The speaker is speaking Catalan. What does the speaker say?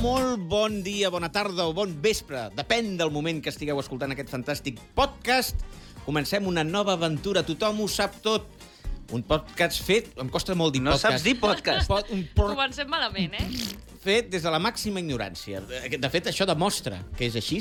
Molt bon dia, bona tarda o bon vespre. Depèn del moment que estigueu escoltant aquest fantàstic podcast. Comencem una nova aventura. Tothom ho sap tot. Un podcast fet... Em costa molt dir No podcast. saps dir podcast. Pot, un podcast Comencem malament, eh? fet des de la màxima ignorància. De fet, això demostra que és així.